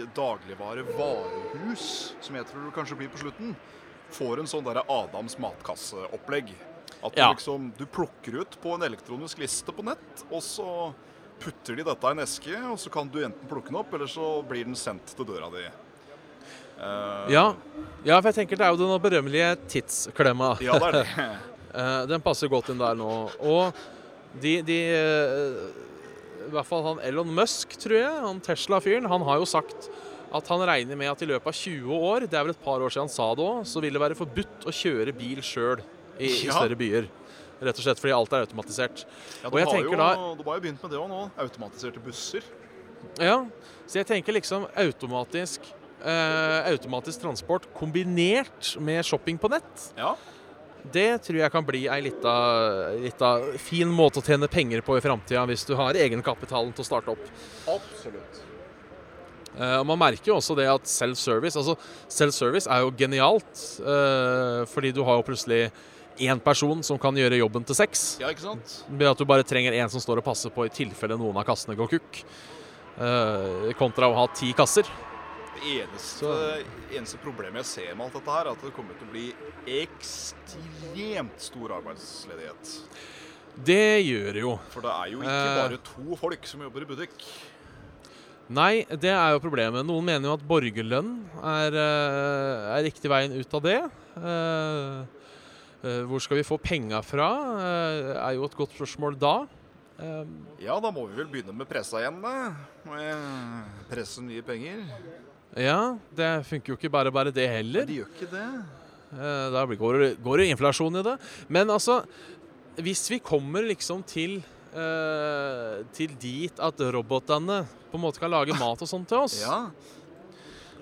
C: dagligvarevarehus, som jeg tror det kanskje blir på slutten, får en sånn derre Adams matkasseopplegg. At du,
B: Ja.
C: liksom, du plukker ut på en elektronisk liste på nett, og så putter de dette i en eske, og så kan du enten plukke den opp, eller så blir den sendt til døra di. Eh,
B: Ja. ja, for jeg tenker det er jo den berømmelige tidsklemma.
C: Ja, det er det.
B: Eh, den passer godt inn der nå. Og de, de eh, I hvert fall han Elon Musk, tror jeg, han Tesla-fyren, han har jo sagt at han regner med at i løpet av 20 år, det er vel et par år siden han sa det òg, så vil det være forbudt å kjøre bil sjøl i, i
C: Ja.
B: større byer. Rett og slett fordi alt er automatisert.
C: Ja,
B: Og jeg
C: har
B: tenker
C: jo,
B: da-
C: De har jo begynt med det òg nå. Automatiserte busser.
B: Ja, Så jeg tenker liksom automatisk eh, automatisk transport kombinert med shopping på nett.
C: Ja.
B: Det tror jeg kan bli ei lita, lita fin måte å tjene penger på i framtida, hvis du har egenkapitalen til å starte opp.
C: Absolutt.
B: Eh, og Man merker jo også det at self-service altså Self-service er jo genialt, eh, fordi du har jo plutselig én person som kan gjøre jobben til seks.
C: Ja, ikke sant?
B: Ved at du bare trenger én som står og passer på i tilfelle noen av kassene går kukk. Eh, kontra å ha ti kasser.
C: Det eneste,
B: Så-
C: eneste problemet jeg ser med alt dette, her, er at det kommer til å bli ekstremt stor arbeidsledighet.
B: Det gjør jo
C: For det er jo ikke
B: Eh.
C: bare to folk som jobber i butikk.
B: Nei, det er jo problemet. Noen mener jo at borgerlønn er, eh, er riktig veien ut av det. Eh, eh, Hvor skal vi få penga fra, eh, er jo et godt spørsmål da. Eh,
C: Ja, da må vi vel begynne med pressa igjen, da. Med Presse nye penger.
B: Ja, det funker jo ikke bare bare det heller.
C: De gjør ikke det.
B: Eh, Da blir- går det, går det inflasjon i det. Men altså, hvis vi kommer liksom til eh, til dit at robotene på en måte kan lage mat og sånt til oss.
C: Ja.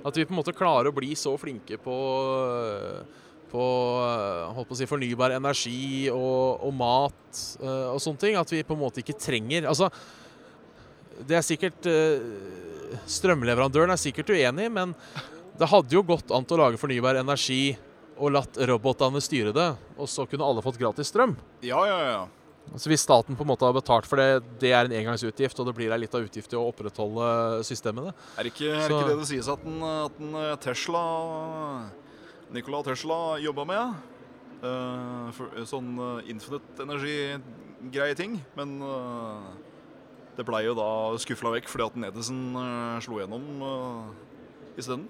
B: At vi på en måte klarer å bli så flinke på, øh, på øh, holdt på å si, fornybar energi og, og mat øh, og sånne ting, at vi på en måte ikke trenger Altså, det er sikkert øh, Strømleverandøren er sikkert uenig, men det hadde jo gått an til å lage fornybar energi og latt robotene styre det, og så kunne alle fått gratis strøm.
C: ja, ja, ja.
B: Så hvis staten på en måte har betalt for det, det er en engangsutgift, og det blir ei lita utgift til å opprettholde systemene.
C: Er det ikke, er det,
B: Så-
C: ikke det det sies at den, at den eh, Tesla Nikola Tesla jobba med? ja? Eh, for, eh, sånn eh, infinite energi-greie ting. Men eh, det blei jo da skufla vekk fordi at den Edison eh, slo gjennom eh, isteden.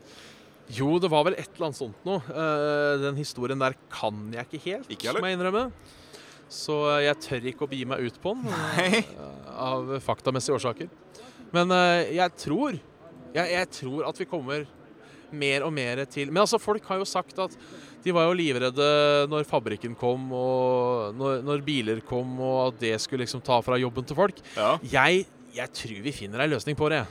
B: Jo, det var vel et eller annet sånt noe. Eh, den historien der kan jeg ikke helt,
C: Ikke heller.
B: må jeg innrømme. Så eh, jeg tør ikke å begi meg ut på den,
C: Nei.
B: eh, av faktamessige årsaker. Men eh, jeg tror jeg, jeg tror at vi kommer mer og mer til Men altså, folk har jo sagt at de var jo livredde når fabrikken kom, og når, når biler kom, og at det skulle liksom ta fra jobben til folk.
C: Ja.
B: Jeg, jeg tror vi finner ei løsning på det.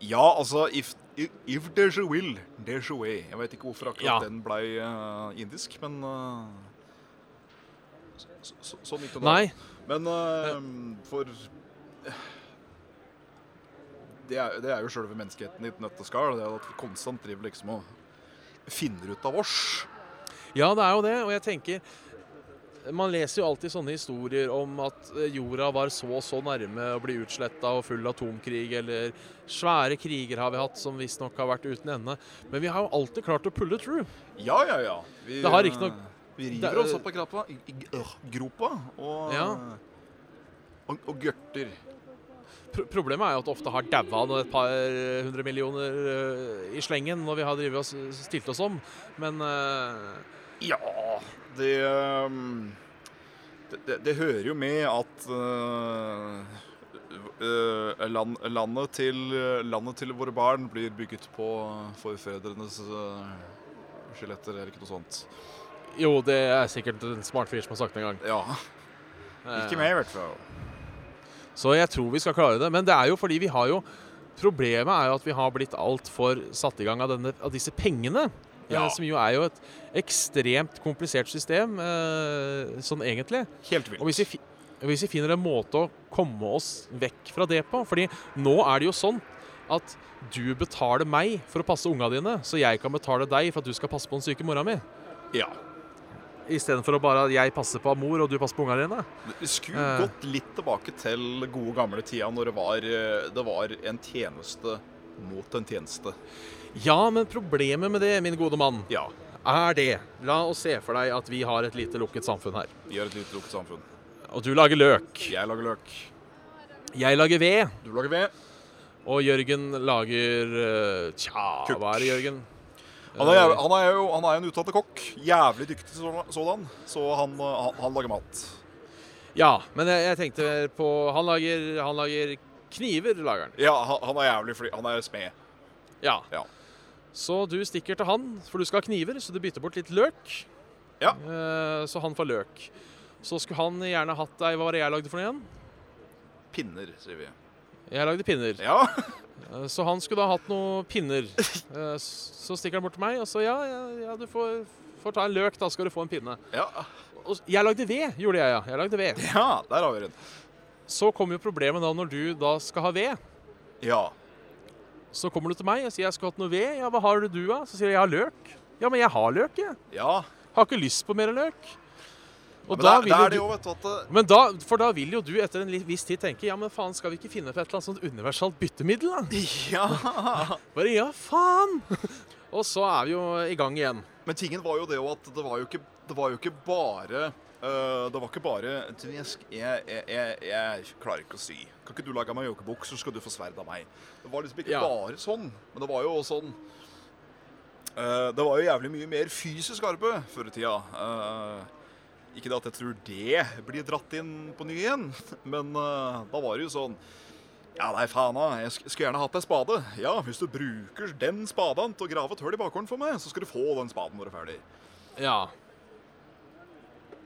C: ja, altså if, i- if there's a will, there's a way. Jeg veit ikke hvorfor
B: Ja.
C: akkurat den blei eh, indisk, men uh, så, så, Sånn gikk det nå.
B: Nei.
C: Men eh, for det er, det er jo sjølve menneskeheten i et nøtteskall. Det er at vi konstant driver liksom og finner ut av oss.
B: Ja, det er jo det, og jeg tenker Man leser jo alltid sånne historier om at eh, jorda var så og så nærme å bli utsletta og full atomkrig, eller svære kriger har vi hatt som visstnok har vært uten ende. Men vi har jo alltid klart å pulle through.
C: Ja, ja, ja. Vi, eh,
B: Det har ikke nok-
C: Vi
B: Det er-
C: river oss opp av grapa, i, i, øh, gropa og,
B: Ja.
C: og, og gørter.
B: Pro problemet er jo at det ofte har daua noe- et par eh, hundre millioner eh, i slengen når vi har drivet oss, stilt oss om. Men eh,
C: Ja, det eh, det, det, det hører jo med at eh, eh, land, landet, til, landet til våre barn blir bygget på forfedrenes eh, skjeletter, eller ikke noe sånt.
B: Jo, det er sikkert en smart fyr som har sagt det en gang.
C: Ja.
B: Eh,
C: Ikke meg, i hvert fall.
B: Så jeg tror vi skal klare det. Men det er jo fordi vi har jo Problemet er jo at vi har blitt altfor satt i gang av, denne, av disse pengene.
C: Ja.
B: eh, Som jo er jo et ekstremt komplisert system, eh, sånn egentlig.
C: Helt vilt.
B: Og hvis vi, fi- hvis vi finner en måte å komme oss vekk fra det på Fordi nå er det jo sånn at du betaler meg for å passe unga dine, så jeg kan betale deg for at du skal passe på den syke mora mi.
C: Ja.
B: Istedenfor å bare at jeg passer på mor, og du passer på unga dine.
C: Vi skulle
B: Eh.
C: gått litt tilbake til gode gamle tida når det var, eh, det var en tjeneste mot en tjeneste.
B: Ja, men problemet med det, min gode mann,
C: Ja.
B: er det La oss se for deg at vi har et lite lukket samfunn her.
C: Vi er et lite lukket samfunn.
B: Og du lager løk.
C: Jeg lager løk.
B: Jeg lager ved.
C: Du lager ved.
B: Og Jørgen lager eh, Tja,
C: Kukk.
B: hva er det, Jørgen?
C: Han er, jæv- han er jo han er en utdannet kokk. Jævlig dyktig sådan, sådan. så han, eh, han, han lager mat.
B: Ja, men jeg, jeg tenkte på Han lager, han lager kniver, lager han.
C: Ja, han, han er jævlig flink. Han er smed.
B: Ja.
C: Ja.
B: Så du stikker til han, for du skal ha kniver, så du bytter bort litt løk.
C: Ja.
B: Eh, så han får løk. Så skulle han gjerne hatt deg Hva var det jeg lagde for noe igjen?
C: Pinner, sier vi.
B: Jeg lagde pinner.
C: Ja.
B: Eh, så han skulle da hatt noen pinner. Eh, s- så stikker han bort til meg, og så ja, ja, ja du får, får ta en løk, da skal du få en pinne.
C: ja.
B: Og s- jeg lagde ved, gjorde jeg, ja. Jeg lagde ved.
C: Ja, der har vi den.
B: Så kommer jo problemet da når du da skal ha ved.
C: Ja.
B: Så kommer du til meg og sier jeg skulle hatt noe ved. Ja, hva har du da? Så sier jeg jeg har løk. Ja, men jeg har løk, jeg.
C: Ja.
B: Har ikke lyst på mer løk. Og
C: Men
B: da
C: der,
B: vil
C: der er det
B: jo
C: jo,
B: du,
C: vet du, at eh,
B: men da, for da vil jo du etter en li- viss tid tenke ja, men faen, skal vi ikke finne på et eller annet sånt universalt byttemiddel, da?
C: eh, Ja.
B: Bare ja, faen! og så er vi jo i gang igjen.
C: Men tingen var jo det jo at det var jo ikke, det var jo ikke bare eh, Det var ikke bare du, jeg, sk- jeg, jeg, jeg, jeg klarer ikke å sy. Kan ikke du lage meg jokebukk, så skal du få sverd av meg. Det var liksom ikke
B: Ja.
C: bare sånn, men det var jo også sånn eh, Det var jo jævlig mye mer fysisk arbeid før i tida. Eh, ikke det at jeg tror det blir dratt inn på ny igjen, men eh, da var det jo sånn ja, nei, faen da. Jeg sk- skulle gjerne hatt ei spade. Ja, hvis du bruker den spaden til å grave et hull i bakgården for meg, så skal du få den spaden når du er ferdig.
B: Ja.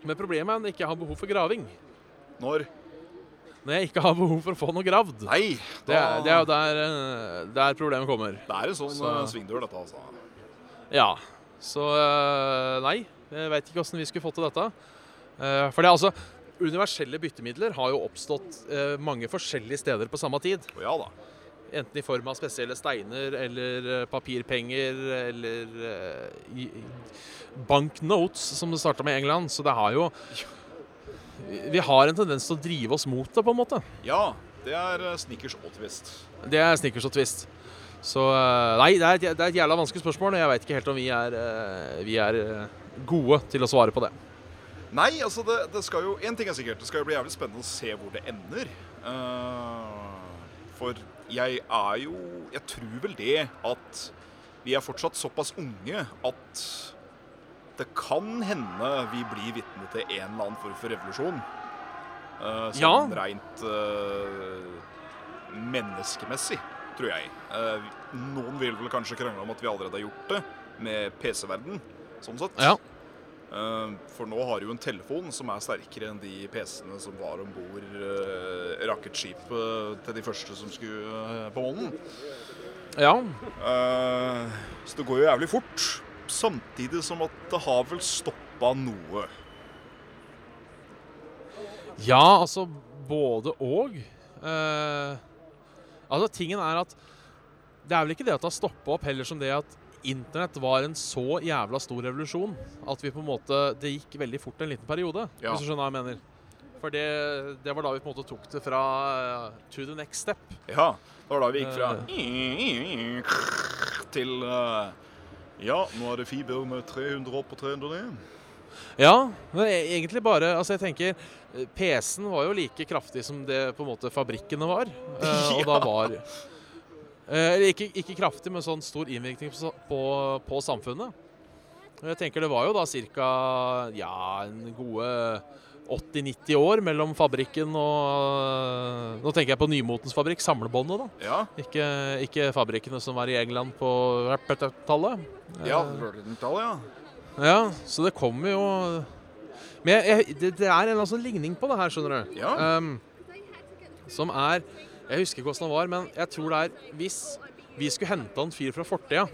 B: Men problemet er når jeg ikke har behov for graving.
C: Når?
B: Når jeg ikke har behov for å få noe gravd.
C: Nei!
B: Det er,
C: da-
B: det er jo der, eh, der problemet kommer.
C: Ah. Det er en sånn
B: Så-
C: eh, svingdør, dette, altså.
B: Ja. Så eh, nei, jeg veit ikke åssen vi skulle fått til dette. Eh, For det er altså Universelle byttemidler har jo oppstått eh, mange forskjellige steder på samme tid.
C: Å ja da.
B: Enten i form av spesielle steiner eller eh, papirpenger eller eh, i- i- banknotes, som det starta med i England. Så det har jo vi- Vi har en tendens til å drive oss mot det, på en måte.
C: Ja, det er eh, snickers og twist.
B: Det er snickers og twist. Så eh, Nei, det er, et- det er et jævla vanskelig spørsmål, og jeg veit ikke helt om vi er, eh, vi er eh, gode til å svare på det.
C: Nei, altså, det, det skal jo Én ting er sikkert. Det skal jo bli jævlig spennende å se hvor det ender. Eh, for jeg er jo Jeg tror vel det at vi er fortsatt såpass unge at det kan hende vi blir vitne til en eller annen form for revolusjon. Eh, sånn
B: Ja.
C: rent eh, menneskemessig, tror jeg. Eh, vi- noen vil vel kanskje krangle om at vi allerede har gjort det med PC-verden, sånn sett.
B: Ja.
C: Eh, For nå har du jo en telefon som er sterkere enn de PC-ene som var om bord eh, rakettskipet til de første som skulle eh, på månen.
B: Ja.
C: Eh, så det går jo jævlig fort. Samtidig som at det har vel stoppa noe.
B: ja, altså både og. Eh, altså, tingen er at det er vel ikke det at det har stoppa opp, heller som det at internett var en så jævla stor revolusjon at vi på en måte Det gikk veldig fort en liten periode,
C: Ja.
B: hvis du skjønner hva jeg mener. For det, det var da vi på en måte tok det fra eh, to the next step.
C: Ja, det var da vi gikk
B: Eh.
C: fra til eh, Ja, nå er det fiber med 300 opp og 300 ned.
B: Ja, men e- egentlig bare Altså, jeg tenker eh, PC-en var jo like kraftig som det på en måte fabrikkene var. Eh, og
C: Ja.
B: da var Eh, Eller ikke, ikke kraftig, men sånn stor innvirkning på, sa- på, på samfunnet. Og Jeg tenker det var jo da cirka ja, en gode 80-90 år mellom fabrikken og Nå tenker jeg på Nymotens fabrikk, samlebåndet, da.
C: Ja,
B: Ikke, ikke fabrikkene som var i England på 1800-tallet.
C: ja, 1800-tallet, ja.
B: ja, så det kommer jo Men jeg, jeg, det, det er en eller annen sånn ligning på det her, skjønner du.
C: Ja.
B: Ehm, som er Jeg husker ikke hvordan han var, men jeg tror det er Hvis vi skulle henta en fyr fra fortida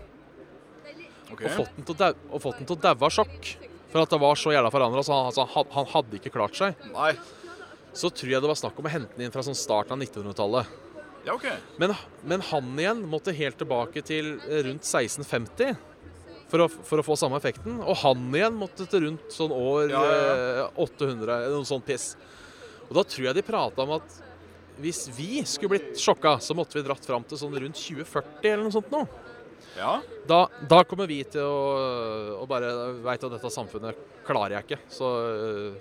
C: Ok.
B: og fått den til å dau- og fått den til å daue av sjokk for at det var så jævla forandra, så han, altså, han, han hadde ikke klart seg,
C: Nei.
B: så tror jeg det var snakk om å hente den inn fra sånn starten av 1900-tallet.
C: Ja, ok.
B: Men, men han igjen måtte helt tilbake til eh, rundt 1650 for å, for å få samme effekten. Og han igjen måtte til rundt sånn år
C: Ja, ja,
B: eh, 800, eller noe sånt piss. Og da tror jeg de prata om at hvis vi skulle blitt sjokka, så måtte vi dratt fram til sånn rundt 2040 eller noe sånt nå.
C: Ja.
B: Da, da kommer vi til å, å bare veit at dette samfunnet klarer jeg ikke. Så øh,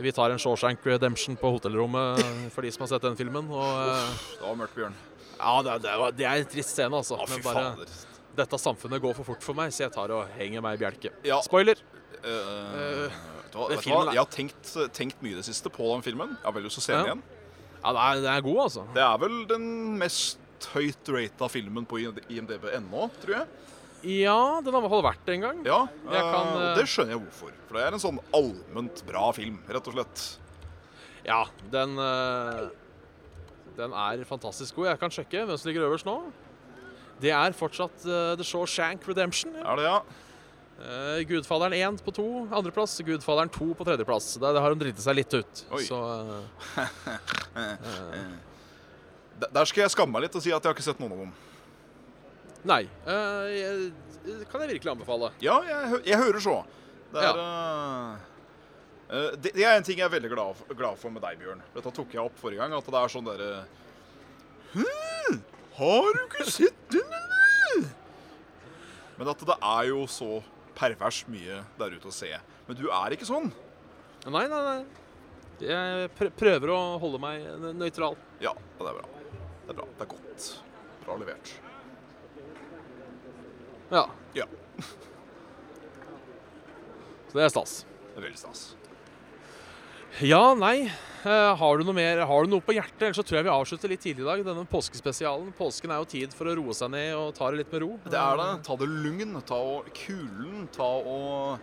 B: vi tar en Shawshank Redemption på hotellrommet for de som har sett den filmen. Og, øh,
C: Det var mørkt, Bjørn.
B: ja, det, det, var, det er en trist scene, altså.
C: Å, fy
B: Men bare
C: fader.
B: dette samfunnet går for fort for meg, så jeg tar og henger meg i bjelke.
C: Ja.
B: Spoiler!
C: Eh,
B: det
C: vet du hva, vet du hva?
B: filmen er-
C: Jeg har tenkt, tenkt mye i det siste på den filmen. Jeg har veldig lyst til å se den
B: Ja.
C: igjen.
B: Ja, den er, den er god, altså.
C: Det er vel den mest høyt rata filmen på IMDb ennå, tror jeg.
B: Ja, den har i hvert fall vært det en gang.
C: Ja,
B: Jeg kan,
C: eh,
B: eh,
C: Det skjønner jeg hvorfor. For det er en sånn allment bra film, rett og slett.
B: Ja, den eh, Den er fantastisk god. Jeg kan sjekke hvem som ligger øverst nå. Det er fortsatt eh, The Shawshank Redemption.
C: Er det, ja?
B: Eh, Gudfaderen 1 på to, andreplass. Gudfaderen 2 på tredjeplass. Der har de driti seg litt ut.
C: Oi.
B: Så eh,
C: D- Der skal jeg skamme meg litt og si at jeg har ikke sett noen av dem.
B: Nei. Eh, jeg, kan jeg virkelig anbefale.
C: Ja, jeg, hø- jeg hører så. Det er, eh, eh, det, det er en ting jeg er veldig glad, f- glad for med deg, Bjørn. Dette tok jeg opp forrige gang, at det er sånn derre «Hæ? Har du ikke sett den, eller? Men at det er jo så pervers mye der ute å se. Men du er ikke sånn.
B: Nei, nei, nei. Jeg pr- prøver å holde meg nø- nøytral.
C: Ja, det er bra. Det er bra. Det er godt. Bra levert.
B: Ja.
C: Ja.
B: Så det er stas.
C: Det er veldig stas.
B: Ja, nei. Eh, har du noe mer? Har du noe på hjertet? Ellers så tror jeg vi avslutter litt tidlig i dag. Denne påskespesialen. Påsken er jo tid for å roe seg ned og ta det litt med ro.
C: Det er det. Ta det lugn, ta og kulen, ta og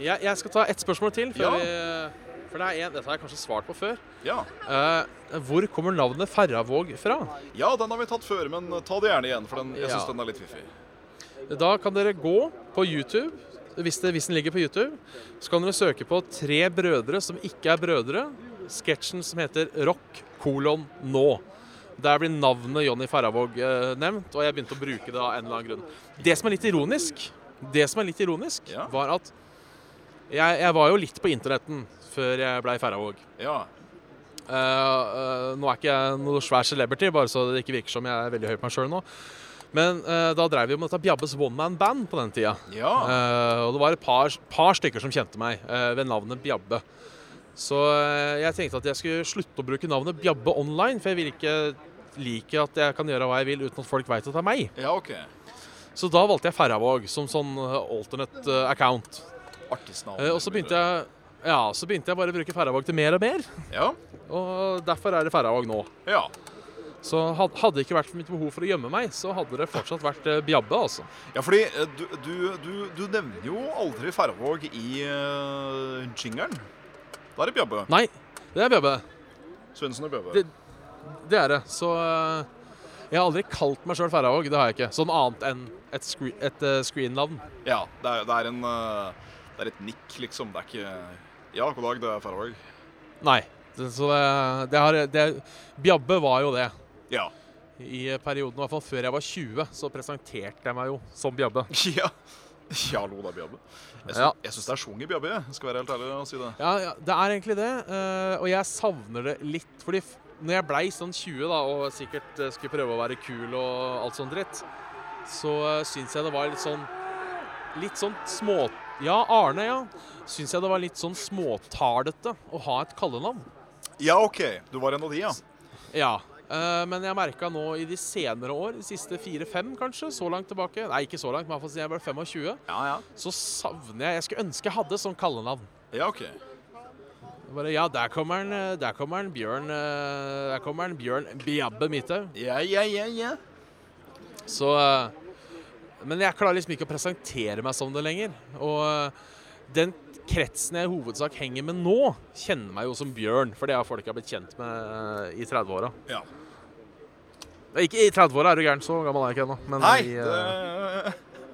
B: Jeg, jeg skal ta ett spørsmål til. Før
C: Ja.
B: vi, for det er en, Dette har jeg kanskje svart på før.
C: Ja.
B: Eh, hvor kommer navnet Ferravåg fra?
C: Ja, den har vi tatt før, men ta det gjerne igjen, for den, jeg syns
B: Ja.
C: den er litt fiffig.
B: Da kan dere gå på YouTube. Hvis, det, hvis den ligger på YouTube, så kan dere søke på Tre brødre som ikke er brødre. Sketsjen som heter Rock kolon nå. Der blir navnet Jonny Farravåg eh, nevnt, og jeg begynte å bruke det av en eller annen grunn. Det som er litt ironisk, det som er litt ironisk
C: Ja.
B: var at jeg, jeg var jo litt på internetten før jeg blei Farravåg.
C: Ja.
B: Eh, eh, nå er ikke jeg noe svær celebrity, bare så det ikke virker som jeg er veldig høy på meg sjøl nå. Men eh, da dreiv vi med dette Bjabbes one man band på den tida.
C: Ja.
B: Eh, og det var et par, par stykker som kjente meg eh, ved navnet Bjabbe. Så eh, jeg tenkte at jeg skulle slutte å bruke navnet Bjabbe online, for jeg vil ikke like at jeg kan gjøre hva jeg vil uten at folk veit at det er meg.
C: ja, OK.
B: Så da valgte jeg Ferravåg som sånn eh, alternate eh, account.
C: Artigsnavn.
B: Eh, og så begynte jeg ja, så begynte jeg bare å bruke Ferravåg til mer og mer,
C: Ja.
B: og derfor er det Ferravåg nå.
C: ja.
B: Så had- hadde det ikke vært for mitt behov for å gjemme meg, så hadde det fortsatt vært eh, Bjabbe, altså.
C: Ja, fordi eh, du, du, du, du nevner jo aldri Færvåg i uh, jingeren. Da er det Bjabbe.
B: Nei, det er Bjabbe.
C: Svendsen og Bjabbe.
B: Det- Det er det. Så eh, jeg har aldri kalt meg sjøl Færøyvåg. Det har jeg ikke. Sånn annet enn et, scre et eh, screen-navn.
C: Ja, det er, det er en eh, Det er et nikk, liksom. Det er ikke Ja, god dag, det er Færvåg.
B: Nei. Det, så det, det har det, Bjabbe var jo det.
C: Ja.
B: I perioden, i hvert fall før jeg var 20, så presenterte jeg meg jo som Bjabbe.
C: ja. Ja, hallo, det er Bjabbe. Jeg syns,
B: Ja.
C: jeg syns det er sjung i Bjabbe, jeg. skal være helt ærlig og si det.
B: Ja, ja, det er egentlig det. eh, og jeg savner det litt. Fordi f- når jeg blei sånn 20 da, og sikkert eh, skulle prøve å være kul og alt sånn dritt, så uh, syns jeg det var litt sånn Litt sånn små... Ja, Arne, ja. Syns jeg det var litt sånn småtalete å ha et kallenavn.
C: Ja, OK. Du var en av de, ja.
B: Ja. Eh, men jeg merka nå i de senere år, de siste fire-fem kanskje, så langt tilbake Nei, ikke så langt, men i hvert fall siden jeg ble 25,
C: Ja, ja.
B: så savner jeg Jeg skulle ønske jeg hadde sånn kallenavn.
C: Ja, ok.
B: Bare, ja, der kommer han, eh, der kommer han Bjørn eh, Der kommer han Bjørn Bjabbe Midthaug.
C: Ja, ja, ja, ja.
B: Så eh, Men jeg klarer liksom ikke å presentere meg som det lenger. Og eh, den kretsen jeg i hovedsak henger med nå, kjenner meg jo som Bjørn. For det har folk jeg har blitt kjent med eh, i 30-åra.
C: ja.
B: Nei, Ikke i 30-åra, er du gæren. Så gammel er jeg ikke ennå. Men
C: Nei,
B: i, eh,
C: det,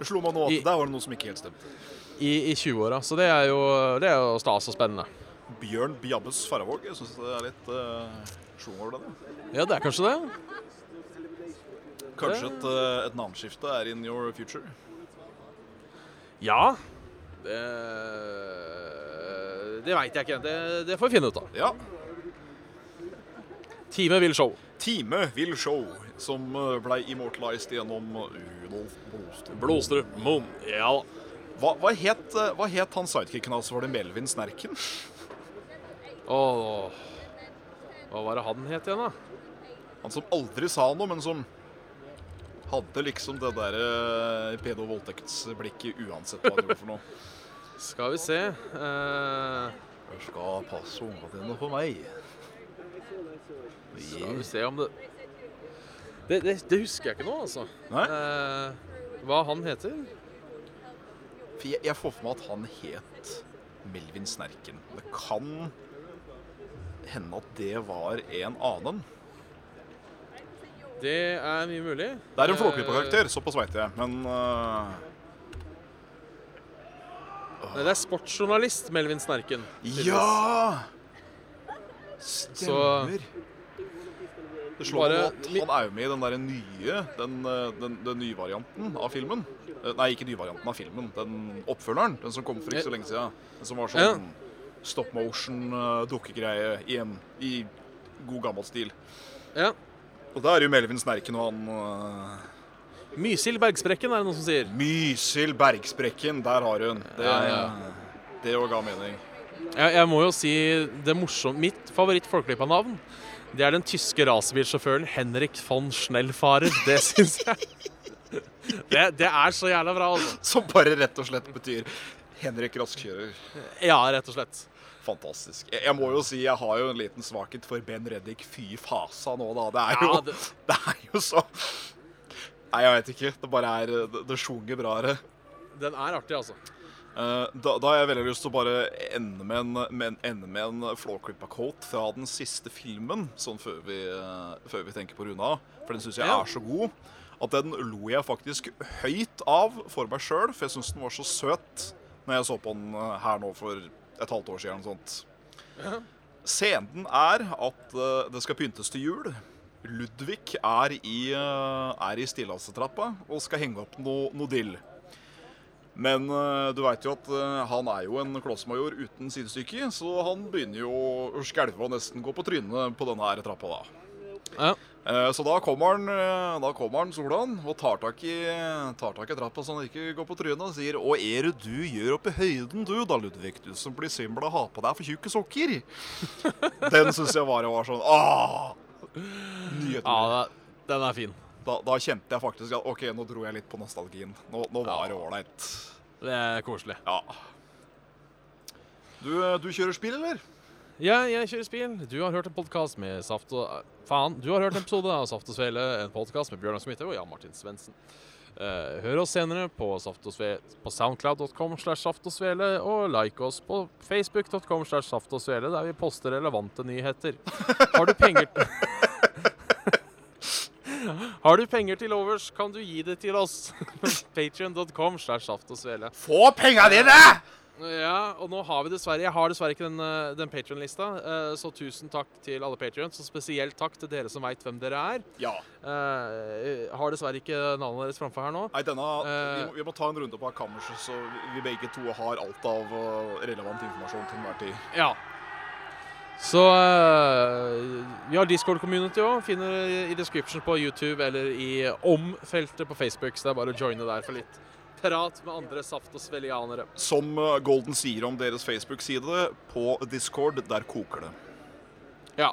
C: det slo meg nå at
B: I-
C: der var det noe som ikke helt stemte.
B: i, i 20-åra. Så det er, jo, det er jo stas og spennende.
C: Bjørn Bjabbes Faravåg. Jeg syns det er litt uh, sjung over den. ja.
B: Ja, det er kanskje det.
C: Kanskje et, eh, et navneskifte er in your future.
B: Ja. Det, det veit jeg ikke. Det, det får vi finne ut av.
C: Ja.
B: Time vil show.
C: Time vil show, som eh, ble immortalized gjennom eh, Rudolf Blodstrøm.
B: Blodstrup Moen. Ja da.
C: Hva, hva, het, eh, hva het han sidekicken hans? Var det Melvin Snerken?
B: Åh. Hva var det han het igjen, da?
C: Han som aldri sa noe, men som hadde liksom det der eh, pedo-voldtektsblikket uansett hva han gjorde for noe.
B: Skal vi se eh,
C: Jeg skal passe ungene dine på meg.
B: Skal vi se om det det, det det husker jeg ikke nå, altså.
C: Nei?
B: Eh, hva han heter?
C: For jeg, jeg får for meg at han het Melvin Snerken. Det kan hende at det var en annen.
B: Det er mye mulig.
C: Det er en Flåklypa-karakter, såpass veit jeg, men eh,
B: Eh, nei, det er sportsjournalist Melvin Snerken. tydeligvis.
C: Ja! Stemmer. Det slår meg
B: Bare-
C: nå at han er jo med i den der nye den, eh, den, den nye varianten av filmen. Eh, Nei, ikke nyvarianten av filmen. Den oppfølgeren. Den som kom for ikke så lenge siden. Den som var sånn stop motion-dukkegreie i, en- i god gammel stil.
B: Ja.
C: Og da er det jo Melvin Snerken og han eh,
B: Mysil Bergsprekken, er det noen som sier.
C: Mysil Bergsprekken. Der har hun. Det,
B: Ja, ja.
C: det jo ga mening.
B: Jeg, jeg må jo si det morsomme Mitt favoritt-Flåklypa-navn, det er den tyske racerbilsjåføren Henrik von Schnellfarer. Det syns jeg det, det er så jævla bra, altså.
C: Som bare rett og slett betyr Henrik Raskkjører.
B: Ja, rett og slett.
C: Fantastisk. Jeg, jeg må jo si jeg har jo en liten svakhet for Ben Reddik fy fasa nå, da. Det er jo,
B: Ja,
C: det...
B: det-
C: er jo så Nei, jeg veit ikke. Det bare er Det, det sjunger bra her.
B: Den er artig, altså.
C: Eh, da, da har jeg veldig lyst til å bare ende med en, med en, ende med en Flåklypa-quote fra den siste filmen, sånn før vi, eh, før vi tenker på å runde av. For den syns jeg
B: Ja.
C: er så god at den lo jeg faktisk høyt av for meg sjøl, for jeg syns den var så søt når jeg så på den eh, her nå for et halvt år siden. eller noe Sånt. Scenen er at eh, det skal pyntes til jul. Ludvig er i, uh, er i stillasetrappa og skal henge opp noe no dill. Men eh, du veit jo at eh, han er jo en klossmajor uten sidestykke, så han begynner jo å skjelve og nesten gå på trynet på denne her trappa da.
B: Ja.
C: Eh, Så da kommer han, eh, da kommer han Solan og tar tak, i, tar tak i trappa så han ikke går på trynet og sier Hva er det du gjør oppe i høyden du da, Ludvig? Du som blir svimmel og har på deg for tjukke sokker. Den syns jeg bare var sånn Åh! Nyheten.
B: Ja, det- den er fin.
C: Da, da kjente jeg faktisk at OK, nå dro jeg litt på nostalgien. Nå, nå var det ålreit.
B: Det er koselig.
C: Ja. Du, eh, du kjører spill, eller?
B: Ja, jeg kjører bil. Du har hørt en podkast med Saft og Faen, du har hørt en episode av Saft og Svele, en podkast med Bjørnar Smithaug og Jan Martin Svendsen. Eh, hør oss senere på, Saft og Sve- på soundcloud.com slash saft og svele, og like oss på facebook.com slash saft og svele, der vi poster relevante nyheter. Har du penger Har du penger til overs, kan du gi det til oss. Patrion.com slash saft og svele.
C: Få penga dine!
B: Ja, og nå har vi dessverre Jeg har dessverre ikke den, eh, den Patrion-lista, eh, så tusen takk til alle patrions. Og spesielt takk til dere som veit hvem dere er.
C: Ja.
B: Eh, har dessverre ikke navnet deres framfor her nå.
C: Nei, denne, vi,
B: Eh.
C: må, vi må ta en runde på kammerset, så vi begge to har alt av eh, relevant informasjon til enhver tid.
B: Ja. Så eh, vi har Discord-community òg. Finner i description på YouTube eller i om-feltet på Facebook. Så det er bare å joine der for litt prat med andre saft- og svelianere.
C: Som eh, Golden sier om deres Facebook-side, på Discord, der koker det.
B: Ja.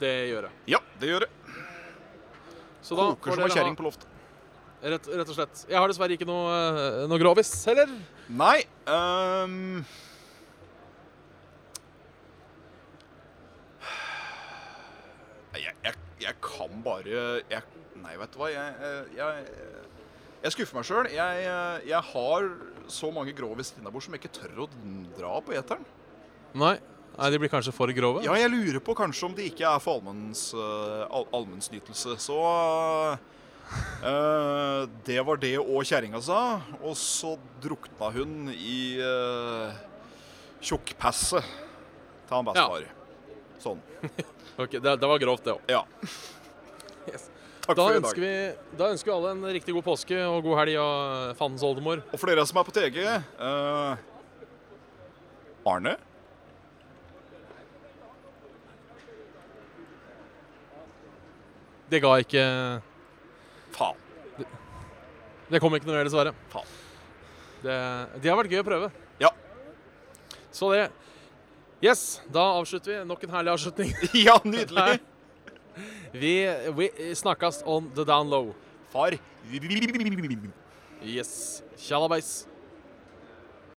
B: det gjøre.
C: Ja, det gjør det.
B: Så da
C: Koker
B: får
C: som ei
B: dere ha
C: kjerring på loftet.
B: rett, rett og slett. Jeg har dessverre ikke noe, eh, noe grovis heller.
C: Nei ehm. Nei, jeg, jeg, jeg kan bare jeg, Nei, vet du hva. Jeg, eh, jeg, jeg skuffer meg sjøl. Jeg, eh, jeg har så mange grovis innabords som jeg ikke tør å dra på eteren.
B: Nei. Nei, de blir kanskje for grove?
C: Ja, jeg lurer på kanskje om det ikke er for allmenns, eh, all, allmennsnytelse. Så eh, det var det og kjerringa sa. Og så drukna hun i uh, tjukkpasset til han bestefar. Sånn.
B: Ok, det, det var grovt, det òg.
C: Ja.
B: Yes.
C: Takk
B: Da
C: for i
B: ønsker,
C: dag.
B: vi, da ønsker vi alle en riktig god påske og god helg og fandens oldemor.
C: Og for dere som er på TG eh, Arne?
B: Det ga ikke
C: Faen.
B: Det kom ikke noe mer, dessverre.
C: Faen.
B: Det, det har vært gøy å prøve.
C: Ja.
B: Så det Yes, da avslutter vi. Nok en herlig avslutning.
C: ja, nydelig.
B: Vi, vi snakkes on the down low.
C: Far.
B: Yes. Tjallabais.